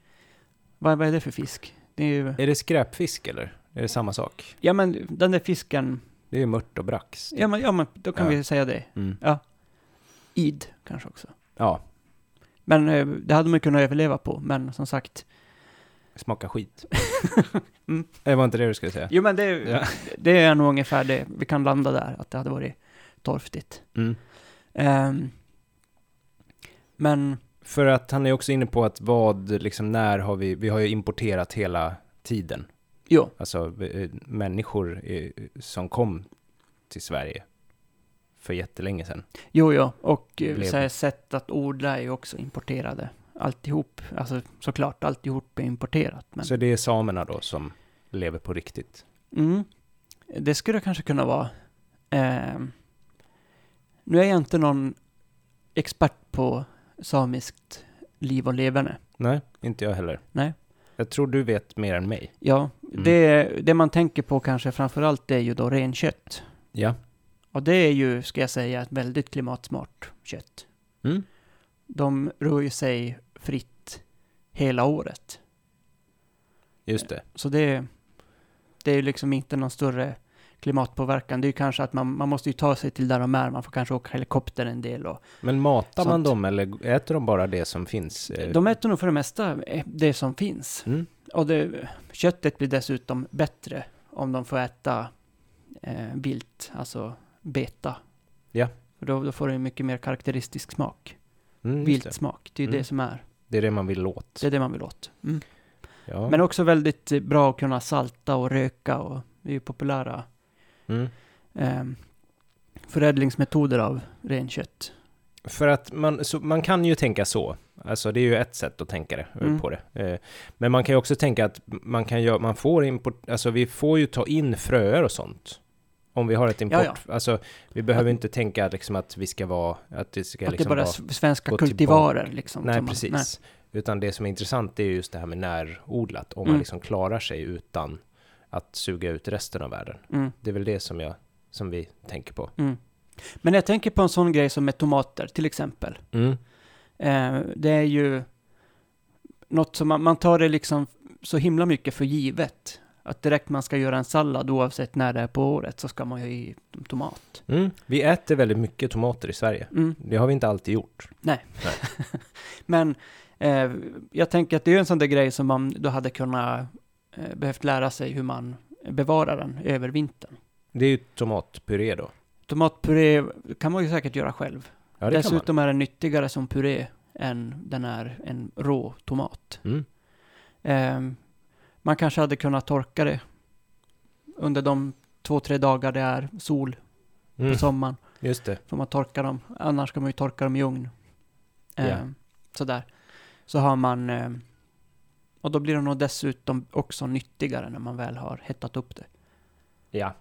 Speaker 2: Vad, vad är det för fisk? Det är ju,
Speaker 1: Är det skräpfisk eller? Är det samma sak?
Speaker 2: ja men den där fisken,
Speaker 1: Det är ju mört och brax.
Speaker 2: ja men, ja, men då kan
Speaker 1: Ja.
Speaker 2: vi säga det.
Speaker 1: Mm.
Speaker 2: Id kanske också.
Speaker 1: Ja,
Speaker 2: Men eh, det hade man kunnat överleva på, men som sagt.
Speaker 1: smaka skit.
Speaker 2: Mm.
Speaker 1: Det var inte det du skulle säga.
Speaker 2: Jo men det,
Speaker 1: Ja.
Speaker 2: det är nog ungefär det, vi kan landa där, att det hade varit torftigt.
Speaker 1: Mm.
Speaker 2: Ehm, men,
Speaker 1: För att han är också inne på att vad, liksom när har vi, vi har ju importerat hela tiden.
Speaker 2: jo,
Speaker 1: alltså eh, människor eh, som kom till Sverige för jättelänge sedan.
Speaker 2: Jo, ja. Och eh,
Speaker 1: Blev.
Speaker 2: så här, sätt att odla är ju också importerade. Alltihop. Alltså såklart, alltihop är importerat. Men...
Speaker 1: Så det är samerna då som lever på riktigt.
Speaker 2: Mm. Det skulle kanske kunna vara. ehm, Nu är jag inte någon expert på samiskt liv och leverne.
Speaker 1: Nej, inte jag heller.
Speaker 2: Nej.
Speaker 1: Jag tror du vet mer än mig.
Speaker 2: Ja,
Speaker 1: Mm.
Speaker 2: det, det man tänker på kanske framförallt är ju då renkött.
Speaker 1: Ja.
Speaker 2: Och det är ju, ska jag säga, ett väldigt klimatsmart kött.
Speaker 1: Mm.
Speaker 2: De rör ju sig fritt hela året.
Speaker 1: Just det.
Speaker 2: Så det, det är ju liksom inte någon större klimatpåverkan. Det är ju kanske att man, man måste ju ta sig till där de är. Man får kanske åka helikopter en del och
Speaker 1: Men matar man
Speaker 2: Sant.
Speaker 1: dem eller äter de bara det som finns? eh?
Speaker 2: de äter nog för det mesta eh, det som finns.
Speaker 1: Mm.
Speaker 2: Och det, köttet blir dessutom bättre om de får äta eh, vilt, alltså beta.
Speaker 1: Ja.
Speaker 2: För då, då får du ju mycket mer karaktäristisk smak.
Speaker 1: Mm, just det.
Speaker 2: Viltsmak, det är ju
Speaker 1: Mm.
Speaker 2: det som är.
Speaker 1: det är det man vill åt.
Speaker 2: Det är det man vill åt. Mm.
Speaker 1: Ja.
Speaker 2: Men också väldigt eh, bra att kunna salta och röka och det är ju populära
Speaker 1: Mm.
Speaker 2: eh, förädlingsmetoder av renkött.
Speaker 1: För att man, så, man kan ju tänka så. Alltså det är ju ett sätt att tänka det, eh,
Speaker 2: Mm.
Speaker 1: på det. Eh, Men man kan ju också tänka att man kan göra, man får import, alltså vi får ju ta in fröer och sånt. Om vi har ett import,
Speaker 2: ja.
Speaker 1: alltså vi behöver inte tänka liksom att vi ska vara, att det ska
Speaker 2: Att
Speaker 1: liksom
Speaker 2: det bara är
Speaker 1: vara...
Speaker 2: s- svenska
Speaker 1: gå tillbaka.
Speaker 2: kultivarer liksom.
Speaker 1: Nej,
Speaker 2: som man-
Speaker 1: precis.
Speaker 2: nej.
Speaker 1: Utan det som är intressant är ju just det här med närodlat, om man
Speaker 2: Mm.
Speaker 1: liksom klarar sig utan att suga ut resten av världen.
Speaker 2: Mm,
Speaker 1: Det är väl det som jag, som vi tänker på.
Speaker 2: mm. Men jag tänker på en sån grej som med tomater till exempel.
Speaker 1: Mm,
Speaker 2: Eh, det är ju något som man, man tar det liksom så himla mycket för givet. Att direkt man ska göra en sallad oavsett när det är på året så ska man ju ha i tomat.
Speaker 1: mm. Vi äter väldigt mycket tomater i Sverige.
Speaker 2: Mm.
Speaker 1: Det har vi inte alltid gjort.
Speaker 2: Men eh, jag tänker att det är en sån där grej som man då hade kunnat eh, behövt lära sig hur man bevarar den över vintern.
Speaker 1: Det är ju tomatpuré då.
Speaker 2: Tomatpuré kan man ju säkert göra själv.
Speaker 1: Ja, det kan
Speaker 2: Dessutom är den nyttigare som puré än den är en rå tomat.
Speaker 1: man. Mm.
Speaker 2: Ehm, man kanske hade kunnat torka det under de två, tre dagar det är sol på
Speaker 1: Mm.
Speaker 2: sommaren.
Speaker 1: Just det.
Speaker 2: Får man torka dem. Annars ska man ju torka dem i ugn. Ehm,
Speaker 1: Ja.
Speaker 2: Sådär. Så har man... ehm, och då blir de nog dessutom också nyttigare när man väl har hettat upp det.
Speaker 1: Ja.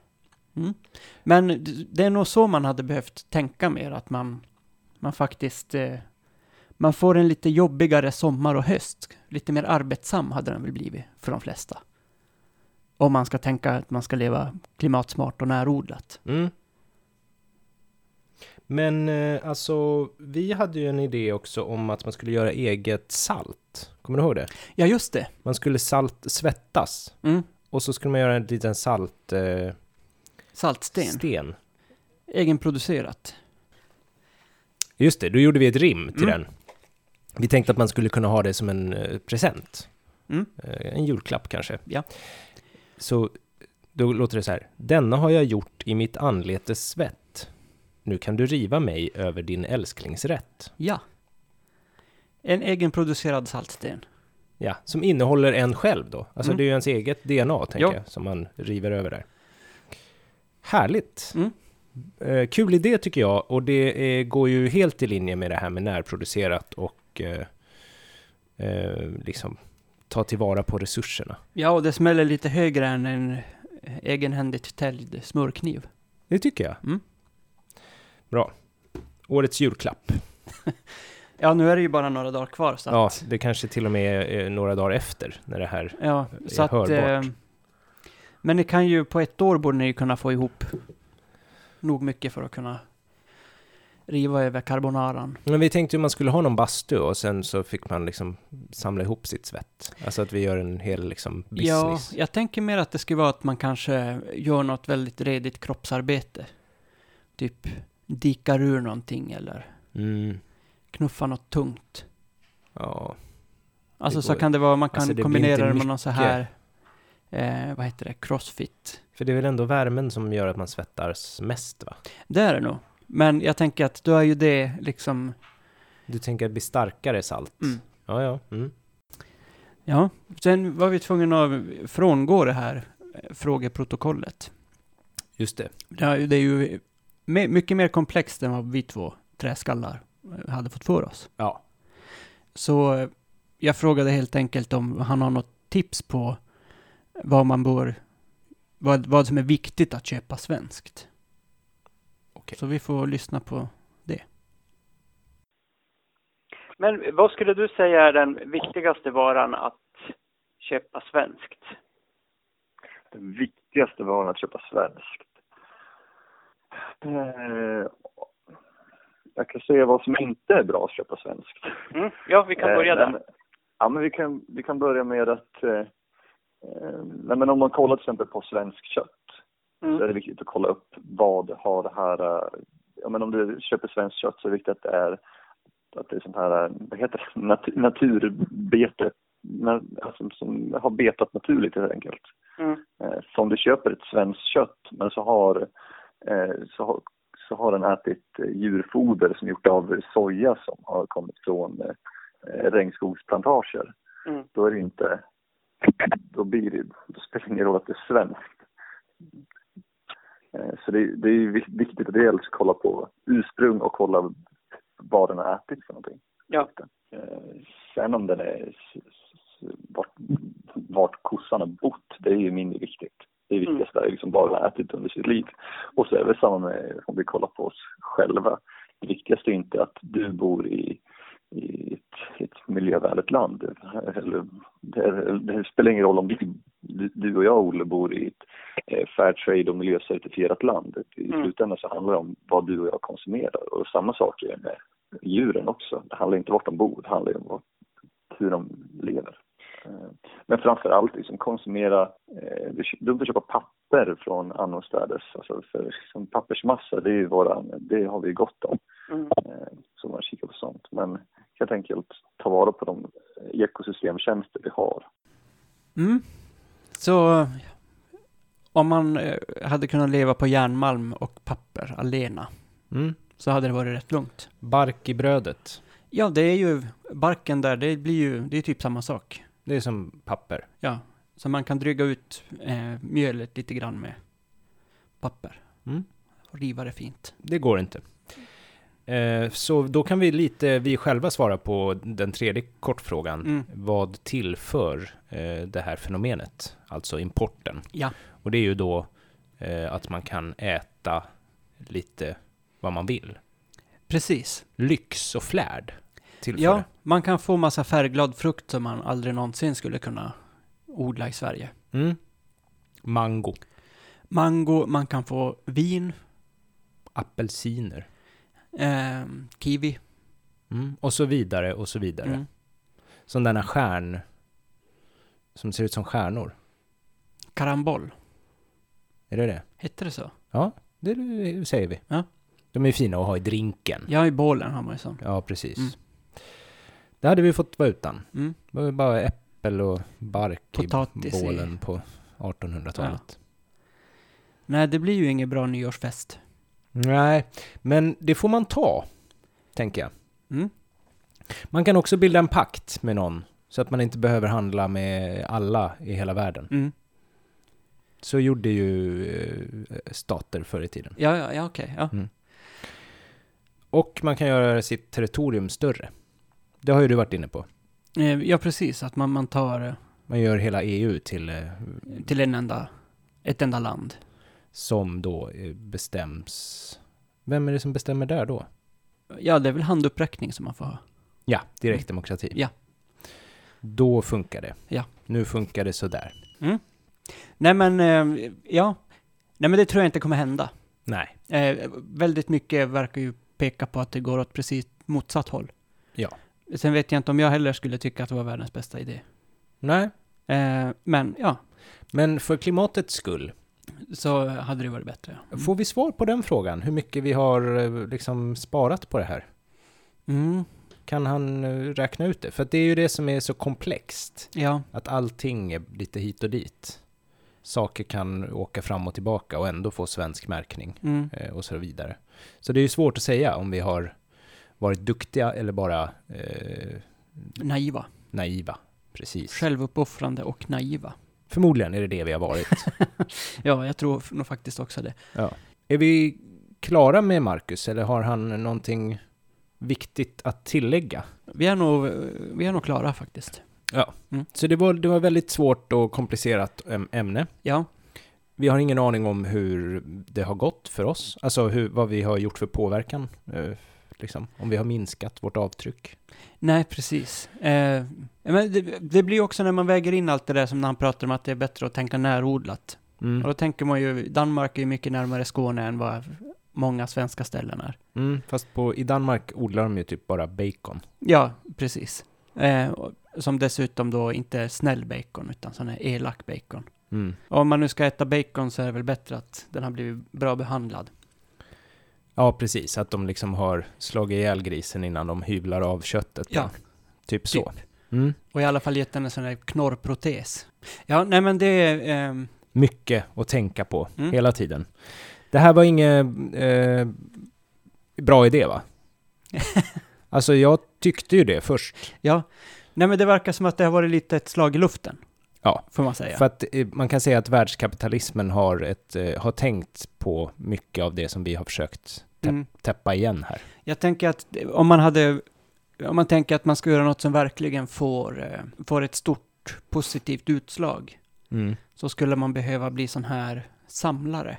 Speaker 2: Men d- det är nog så man hade behövt tänka mer, att man, man faktiskt... Eh, man får en lite jobbigare sommar och höst. Lite mer arbetsam hade den väl blivit för de flesta. Om man ska tänka att man ska leva klimatsmart och närodlat.
Speaker 1: Mm. Men eh, alltså, vi hade ju en idé också om att man skulle göra eget salt. Kommer du ihåg det?
Speaker 2: Ja, just det.
Speaker 1: Man skulle salt svettas
Speaker 2: Mm.
Speaker 1: och så skulle man göra en liten saltsten. Eh,
Speaker 2: Saltsten.
Speaker 1: sten.
Speaker 2: Egenproducerat.
Speaker 1: Just det, då gjorde vi ett rim till
Speaker 2: Mm.
Speaker 1: den. Vi tänkte att man skulle kunna ha det som en eh, present.
Speaker 2: Mm.
Speaker 1: Eh, En julklapp kanske.
Speaker 2: Ja.
Speaker 1: Så då låter det så här. Denna har jag gjort i mitt anletes svett. Nu kan du riva mig över din älsklingsrätt.
Speaker 2: Ja. En egenproducerad saltsten.
Speaker 1: Ja, som innehåller en själv då. Alltså
Speaker 2: Mm.
Speaker 1: det är ju ens eget DNA, tänker
Speaker 2: Ja.
Speaker 1: jag, som man river över där. Härligt!
Speaker 2: Mm.
Speaker 1: Eh, kul idé tycker jag, och det eh, går ju helt i linje med det här med närproducerat och eh, eh, liksom ta tillvara på resurserna.
Speaker 2: Ja, och det smäller lite högre än en eh, egenhändigt täljd smörkniv.
Speaker 1: Det tycker jag.
Speaker 2: Mm.
Speaker 1: Bra. Årets julklapp.
Speaker 2: Ja, nu är det ju bara några dagar kvar så
Speaker 1: Ja,
Speaker 2: att...
Speaker 1: det kanske till och med är eh, några dagar efter när det här...
Speaker 2: Ja,
Speaker 1: Det är
Speaker 2: så att... Eh,
Speaker 1: hörbart.
Speaker 2: men ni kan ju, på ett år borde ni ju kunna få ihop nog mycket för att kunna riva över carbonaran.
Speaker 1: Men vi tänkte ju man skulle ha någon bastu och sen så fick man liksom samla ihop sitt svett. Alltså att vi gör en hel liksom business.
Speaker 2: Ja, jag tänker mer att det skulle vara att man kanske gör något väldigt redigt kroppsarbete. Typ dikar ur någonting eller
Speaker 1: Mm.
Speaker 2: knuffar något tungt.
Speaker 1: Ja.
Speaker 2: Alltså
Speaker 1: Det
Speaker 2: så
Speaker 1: går-
Speaker 2: kan det vara, man kan
Speaker 1: alltså, det blir inte
Speaker 2: kombinera det med
Speaker 1: mycket.
Speaker 2: någon så här, eh, vad heter det, crossfit.
Speaker 1: För det är väl ändå värmen som gör att man svettas mest va?
Speaker 2: Det är det nog. Men jag tänker att då är ju det liksom,
Speaker 1: Du tänker att det blir starkare salt?
Speaker 2: Mm.
Speaker 1: Ja, ja. Mm.
Speaker 2: Ja, sen var vi tvungna att frångå det här eh, frågeprotokollet.
Speaker 1: Just det.
Speaker 2: Det är ju- det är ju me- mycket mer komplext än vad vi två träskallar eh, hade fått för oss.
Speaker 1: Ja.
Speaker 2: Så eh, jag frågade helt enkelt om han har något tips på vad man bör, vad, vad som är viktigt att köpa svenskt.
Speaker 1: Okej.
Speaker 2: Så vi får lyssna på
Speaker 4: Men vad skulle du säga är den viktigaste varan att köpa svenskt?
Speaker 3: Den viktigaste varan att köpa svenskt. Eh, jag kan säga vad som inte är bra att köpa svenskt.
Speaker 4: Mm? Ja, vi kan
Speaker 3: Eh,
Speaker 4: börja
Speaker 3: nej,
Speaker 4: där.
Speaker 3: men- Ja, men vi kan, vi kan börja med att... Eh, eh, nej, men om man kollar till exempel på svensk kött så är det
Speaker 4: Mm.
Speaker 3: viktigt att kolla upp vad har det här... eh, Ja, men om du köper svenskt kött så är det viktigt att det är, att det är sånt här, eh, vad heter det, Nat- naturbete men, alltså, som har betat naturligt helt enkelt.
Speaker 4: Mm.
Speaker 3: Eh, Så om du köper ett svenskt kött men så har, eh, så, har- så har den ätit eh, djurfoder som är gjort av soja som har kommit från eh, eh, regnskogsplantager.
Speaker 4: Mm.
Speaker 3: Då är det inte, då blir det, då spelar det ingen roll att det är svenskt. Eh, Så det, det är ju vi- viktigt att dels kolla på ursprung och kolla vad den har ätit för någonting.
Speaker 4: Ja.
Speaker 3: Eh, Sen om den är s- s- vart, vart kossan har bott, det är ju mindre viktigt. Det
Speaker 4: Mm.
Speaker 3: viktigaste är liksom vad den har ätit under sitt liv. Och så är det samma med om vi kollar på oss själva. Det viktigaste är inte att du bor i, i ett, ett miljövänligt land. Eller, det, det spelar ingen roll om du, du och jag, Olle, bor i ett eh, Fairtrade och miljöcertifierat land. I
Speaker 4: Mm.
Speaker 3: slutändan så handlar det om vad du och jag konsumerar. Och samma sak är det med djuren också. Det handlar inte vart de bor, det handlar ju om vad- hur de lever. Eh, Men framför allt liksom konsumera, eh, du kö- du får köpa papper från annorstädes, alltså för liksom pappersmassa, det är ju våran, det har vi ju gott om.
Speaker 4: Mm.
Speaker 3: Eh, Så man kikar på sånt. Men helt enkelt ta vara på de ekosystemtjänster vi har.
Speaker 2: Mm. Så om man eh, hade kunnat leva på järnmalm och papper allena
Speaker 1: Mm.
Speaker 2: så hade det varit rätt lugnt.
Speaker 1: Bark i brödet.
Speaker 2: Ja, det är ju barken där, det blir ju, det är typ samma sak.
Speaker 1: Det är som papper.
Speaker 2: Ja, så man kan dryga ut eh, mjölet lite grann med papper.
Speaker 1: Mm.
Speaker 2: Och riva det fint.
Speaker 1: Det går inte. Eh, Så då kan vi lite, vi själva svara på den tredje kortfrågan.
Speaker 2: Mm.
Speaker 1: Vad tillför eh, det här fenomenet? Alltså importen.
Speaker 2: Ja.
Speaker 1: Och det är ju då eh, att man kan äta lite vad man vill.
Speaker 2: Precis.
Speaker 1: Lyx och flärd tillför
Speaker 2: Ja,
Speaker 1: det.
Speaker 2: man kan få massa färgglad frukt som man aldrig någonsin skulle kunna odla i Sverige.
Speaker 1: Mm. Mango,
Speaker 2: Mango, man kan få vin,
Speaker 1: apelsiner
Speaker 2: eh, kiwi.
Speaker 1: mm. och så vidare och så vidare.
Speaker 2: Mm.
Speaker 1: Sådana stjärn som ser ut som stjärnor.
Speaker 2: Karambol,
Speaker 1: Är det det?
Speaker 2: hette det så?
Speaker 1: Ja, det säger vi.
Speaker 2: Ja.
Speaker 1: De är fina att ha i drinken.
Speaker 2: Ja, i bålen har man ju sånt.
Speaker 1: Ja, precis.
Speaker 2: Mm.
Speaker 1: Det hade vi fått vara utan.
Speaker 2: Mm.
Speaker 1: Det var ju bara äppel och bark
Speaker 2: Potatis
Speaker 1: i
Speaker 2: i-
Speaker 1: bålen på 1800-talet.
Speaker 2: Nej, det blir ju ingen bra nyårsfest.
Speaker 1: Nej, men det får man ta, tänker jag.
Speaker 2: Mm.
Speaker 1: Man kan också bilda en pakt med någon, så att man inte behöver handla med alla i hela världen.
Speaker 2: Mm.
Speaker 1: Så gjorde ju eh, stater förr i tiden.
Speaker 2: Ja, ja, ja, okej. Ja.
Speaker 1: Och man kan göra sitt territorium större. Det har ju du varit inne på.
Speaker 2: Eh, ja, precis. Att man, man tar eh,
Speaker 1: Man gör hela EU till eh,
Speaker 2: till en enda, ett enda land.
Speaker 1: som då eh, bestäms... Vem är det som bestämmer där då?
Speaker 2: Ja, det är väl handuppräckning som man får ha.
Speaker 1: Ja, direktdemokrati.
Speaker 2: Ja.
Speaker 1: Då funkar det.
Speaker 2: Ja.
Speaker 1: Nu funkar det sådär.
Speaker 2: Nej, men eh, ja. Nej, men det tror jag inte kommer hända.
Speaker 1: Nej.
Speaker 2: Eh, väldigt mycket verkar ju peka på att det går åt precis motsatt håll.
Speaker 1: Ja.
Speaker 2: Sen vet jag inte om jag heller skulle tycka att det var världens bästa idé.
Speaker 1: Nej.
Speaker 2: Eh, men ja,
Speaker 1: Men för klimatets skull,
Speaker 2: så hade det varit bättre.
Speaker 1: får vi svar på den frågan? Hur mycket vi har eh, liksom sparat på det här?
Speaker 2: Mm,
Speaker 1: Kan han eh, räkna ut det? För att det är ju det som är så komplext.
Speaker 2: ja,
Speaker 1: Att allting är lite hit och dit. Saker kan åka fram och tillbaka och ändå få svensk märkning.
Speaker 2: mm,
Speaker 1: eh, och så vidare. Så det är ju svårt att säga om vi har varit duktiga eller bara eh,
Speaker 2: naiva.
Speaker 1: naiva. Precis.
Speaker 2: Självuppoffrande och naiva.
Speaker 1: Förmodligen är det det vi har varit.
Speaker 2: Ja, jag tror nog faktiskt också det.
Speaker 1: är vi klara med Marcus eller har han någonting viktigt att tillägga?
Speaker 2: Vi är nog, vi är nog klara faktiskt.
Speaker 1: Så det var, det var väldigt svårt och komplicerat äm- ämne.
Speaker 2: Ja,
Speaker 1: Vi har ingen aning om hur det har gått för oss, alltså hur, vad vi har gjort för påverkan, eh, liksom. om vi har minskat vårt avtryck.
Speaker 2: nej precis. Eh, men det, det blir ju också när man väger in allt det där som när han pratar om att det är bättre att tänka närodlat. Och
Speaker 1: Mm.
Speaker 2: då tänker man ju, Danmark är ju mycket närmare Skåne än vad många svenska ställen är.
Speaker 1: Mm, fast på, i Danmark odlar de ju typ bara bacon.
Speaker 2: Ja, precis. Eh, och- som dessutom då inte är snäll bacon, utan sån här elak bacon.
Speaker 1: Mm.
Speaker 2: Och om man nu ska äta bacon så är det väl bättre att den har blivit bra behandlad.
Speaker 1: Ja, precis. Att de liksom har slagit ihjäl grisen innan de hyvlar av köttet.
Speaker 2: Ja.
Speaker 1: bara. Typ så.
Speaker 2: Typ.
Speaker 1: Mm.
Speaker 2: Och i alla fall gett den en sån där knorrprotes. Ja, nej men det är... ehm,
Speaker 1: Mycket att tänka på
Speaker 2: Mm.
Speaker 1: hela tiden. Det här var ingen eh, bra idé va? alltså jag tyckte ju det först.
Speaker 2: ja, nej men det verkar som att det har varit lite ett slag i luften.
Speaker 1: Ja.
Speaker 2: Får man säga.
Speaker 1: För att eh, man kan säga att världskapitalismen har, ett, eh, har tänkt på mycket av det som vi har försökt täppa,
Speaker 2: Mm.
Speaker 1: täppa igen här.
Speaker 2: Jag tänker att det- om man hade... Om man tänker att man ska göra något som verkligen får, eh, får ett stort positivt utslag, så skulle man behöva bli sån här samlare.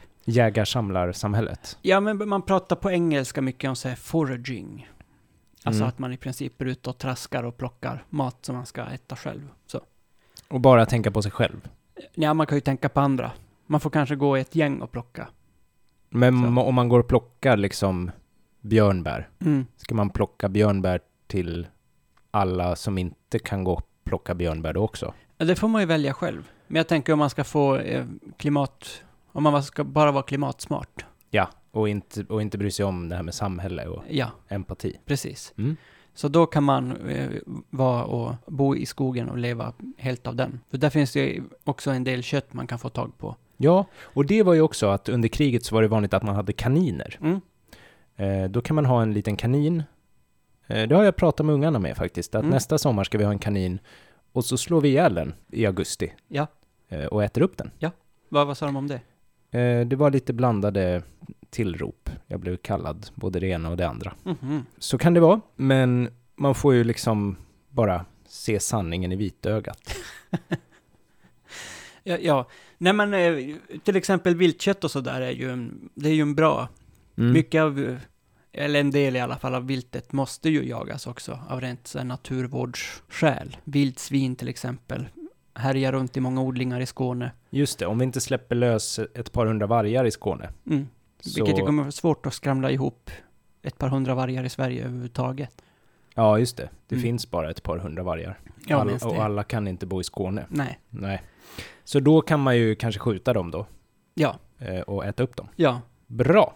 Speaker 1: Jägar-samlar-samhället.
Speaker 2: Ja, men man pratar på engelska mycket om så här foraging. Alltså
Speaker 1: Mm.
Speaker 2: att man i princip är ute och traskar och plockar mat som man ska äta själv. Så.
Speaker 1: Och bara tänka på sig själv.
Speaker 2: Ja, man kan ju tänka på andra. Man får kanske gå i ett gäng och plocka.
Speaker 1: Men
Speaker 2: Så.
Speaker 1: ma- om man går och plockar liksom björnbär,
Speaker 2: Mm.
Speaker 1: ska man plocka björnbär till alla som inte kan gå och plocka björnbär då också?
Speaker 2: Ja, Det får man ju välja själv. Men jag tänker om man ska få eh, klimat... Om man ska bara vara klimatsmart.
Speaker 1: Ja, och inte, och inte bry sig om det här med samhälle och
Speaker 2: Ja,
Speaker 1: empati.
Speaker 2: precis.
Speaker 1: Mm.
Speaker 2: Så då kan man eh, vara och bo i skogen och leva helt av den. För där finns det ju också en del kött man kan få tag på.
Speaker 1: Ja, och det var ju också att under kriget så var det vanligt att man hade kaniner.
Speaker 2: Mm.
Speaker 1: Eh, då kan man ha en liten kanin. Eh, det har jag pratat med ungarna med faktiskt, att
Speaker 2: Mm.
Speaker 1: nästa sommar ska vi ha en kanin och så slår vi ihjäl den i augusti
Speaker 2: Ja,
Speaker 1: eh, och äter upp den.
Speaker 2: vad, vad sa de om det?
Speaker 1: Eh, det var lite blandade tillrop. Jag blev kallad både det ena och det andra.
Speaker 2: Mhm.
Speaker 1: Så kan det vara, men man får ju liksom bara se sanningen i vitögat.
Speaker 2: Ja, ja. Nej, men eh, till exempel viltkött och sådär är ju en, det är ju en bra,
Speaker 1: Mm.
Speaker 2: mycket av, eh, eller en del i alla fall av viltet måste ju jagas också av rent så här, naturvårdsskäl. Vildsvin till exempel härjar runt i många odlingar i Skåne.
Speaker 1: Just det, om vi inte släpper lös ett par hundra vargar i Skåne.
Speaker 2: Mm.
Speaker 1: Så,
Speaker 2: Vilket det kommer vara svårt att skramla ihop ett par hundra vargar i Sverige överhuvudtaget.
Speaker 1: Ja, just det. Det
Speaker 2: Mm.
Speaker 1: finns bara ett par hundra vargar.
Speaker 2: Ja,
Speaker 1: All,
Speaker 2: minst det.
Speaker 1: och alla kan inte bo i Skåne.
Speaker 2: Nej,
Speaker 1: Nej. Så då kan man ju kanske skjuta dem då.
Speaker 2: ja,
Speaker 1: eh, och äta upp dem.
Speaker 2: ja.
Speaker 1: Bra!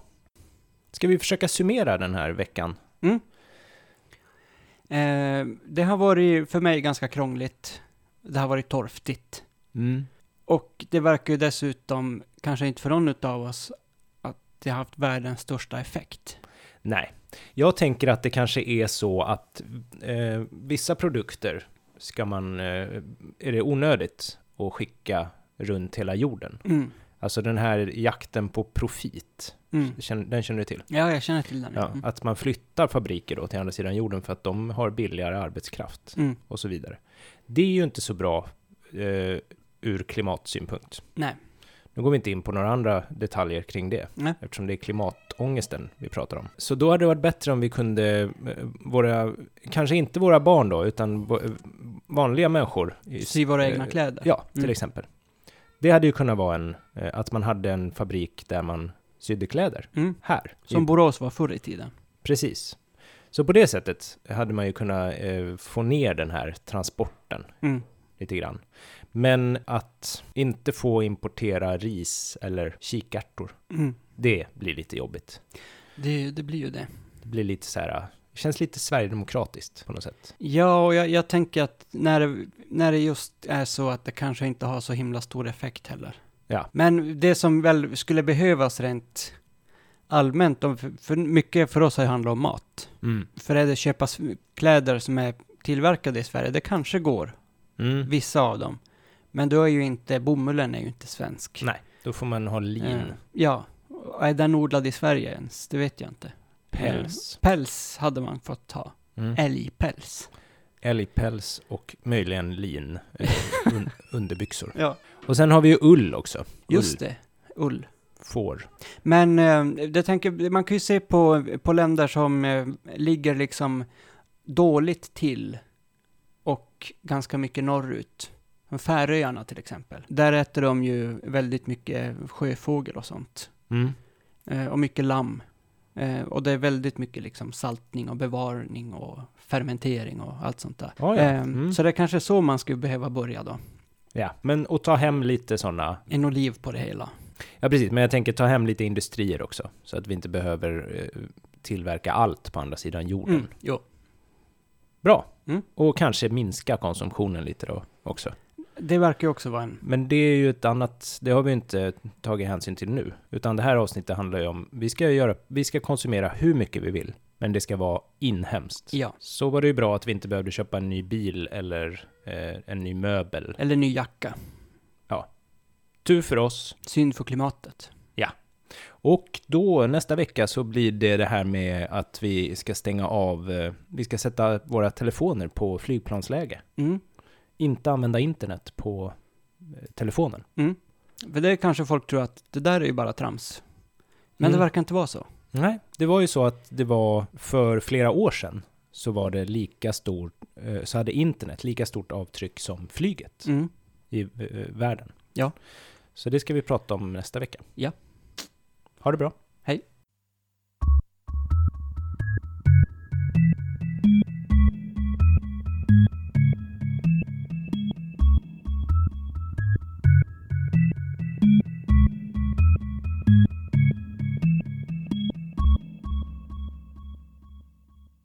Speaker 1: Ska vi försöka summera den här veckan?
Speaker 2: Eh, det har varit för mig ganska krångligt. Det har varit torftigt. Mm. Och det verkar ju dessutom, kanske inte för någon utav oss, att det har haft världens största effekt.
Speaker 1: Nej. Jag tänker att det kanske är så att eh, vissa produkter ska man, eh, är det onödigt att skicka runt hela jorden.
Speaker 2: Mm.
Speaker 1: Alltså den här jakten på profit,
Speaker 2: Mm.
Speaker 1: känn- den känner du till?
Speaker 2: Ja, jag känner till den.
Speaker 1: Ja,
Speaker 2: Mm.
Speaker 1: att man flyttar fabriker då till andra sidan jorden för att de har billigare arbetskraft
Speaker 2: Mm.
Speaker 1: och så vidare. Det är ju inte så bra eh, ur klimatsynpunkt.
Speaker 2: Nej.
Speaker 1: Nu går vi inte in på några andra detaljer kring det,
Speaker 2: Nej.
Speaker 1: eftersom det är klimatångesten vi pratar om. Så då hade det varit bättre om vi kunde, eh, våra, kanske inte våra barn då, utan v- vanliga människor. i-
Speaker 2: Sy våra egna
Speaker 1: eh,
Speaker 2: kläder.
Speaker 1: Ja, till
Speaker 2: Mm.
Speaker 1: exempel. Det hade ju kunnat vara en, eh, att man hade en fabrik där man sydde kläder.
Speaker 2: Mm.
Speaker 1: Här.
Speaker 2: Som
Speaker 1: I-
Speaker 2: Borås var förr i tiden.
Speaker 1: Precis. Så på det sättet hade man ju kunnat eh, få ner den här transporten
Speaker 2: Mm.
Speaker 1: lite grann. Men att inte få importera ris eller kikärtor,
Speaker 2: Mm.
Speaker 1: det blir lite jobbigt.
Speaker 2: Det, det blir ju det.
Speaker 1: Det blir lite så här, det känns lite sverigedemokratiskt på något sätt.
Speaker 2: Ja, och jag, jag tänker att när det, när det just är så att det kanske inte har så himla stor effekt heller.
Speaker 1: Ja.
Speaker 2: Men det som väl skulle behövas rent allmänt, och för, för mycket för oss har ju handlat om mat.
Speaker 1: Mm.
Speaker 2: För är det köpa s- kläder som är tillverkade i Sverige, det kanske går,
Speaker 1: Mm.
Speaker 2: vissa av dem. Men då är ju inte, bomullen är ju inte svensk.
Speaker 1: Nej, då får man ha lin,
Speaker 2: Eh, ja. Och Är den odlad i Sverige ens? Det vet jag inte.
Speaker 1: päls,
Speaker 2: Päls hade man fått ta.
Speaker 1: mm.
Speaker 2: Älgpäls.
Speaker 1: älgpäls och möjligen lin, eh, un, underbyxor.
Speaker 2: Ja.
Speaker 1: Och sen har vi ju ull också.
Speaker 2: Just
Speaker 1: ull,
Speaker 2: det. Ull.
Speaker 1: Får.
Speaker 2: Men eh, jag tänker, man kan ju se på, på länder som eh, ligger liksom dåligt till och ganska mycket norrut. Som Färöarna till exempel. Där äter de ju väldigt mycket sjöfågel och sånt.
Speaker 1: Mm.
Speaker 2: Eh, och mycket lamm. Eh, och det är väldigt mycket liksom saltning och bevarning och fermentering och allt sånt där.
Speaker 1: Ja, ja.
Speaker 2: Eh,
Speaker 1: Mm.
Speaker 2: Så det är kanske så man skulle behöva börja då.
Speaker 1: Ja, men och ta hem lite sådana
Speaker 2: En oliv på det hela.
Speaker 1: Ja, precis. Men jag tänker ta hem lite industrier också,
Speaker 2: Mm.
Speaker 1: så att vi inte behöver eh, tillverka allt på andra sidan jorden.
Speaker 2: Jo.
Speaker 1: Bra.
Speaker 2: Mm.
Speaker 1: Och kanske minska konsumtionen lite då också.
Speaker 2: Det verkar ju också vara en...
Speaker 1: Men det är ju ett annat, det har vi inte tagit hänsyn till nu, utan det här avsnittet handlar ju om, vi ska göra, vi ska konsumera hur mycket vi vill, men det ska vara inhemskt.
Speaker 2: Ja.
Speaker 1: Så var det ju bra att vi inte behövde köpa en ny bil eller eh, en ny möbel.
Speaker 2: Eller ny jacka.
Speaker 1: Tur för oss.
Speaker 2: Synd för klimatet.
Speaker 1: Och då nästa vecka så blir det det här med att vi ska stänga av, eh, vi ska sätta våra telefoner på flygplansläge.
Speaker 2: Mm.
Speaker 1: Inte använda internet på eh, telefonen.
Speaker 2: mm. För det kanske folk tror att det där är ju bara trams. Men
Speaker 1: Mm.
Speaker 2: det verkar inte vara så.
Speaker 1: Nej, det var ju så att det var för flera år sedan så var det lika stort, eh, så hade internet lika stort avtryck som flyget
Speaker 2: Mm.
Speaker 1: i eh, världen.
Speaker 2: Ja.
Speaker 1: Så det ska vi prata om nästa vecka.
Speaker 2: Ja.
Speaker 1: Ha det bra.
Speaker 2: Hej.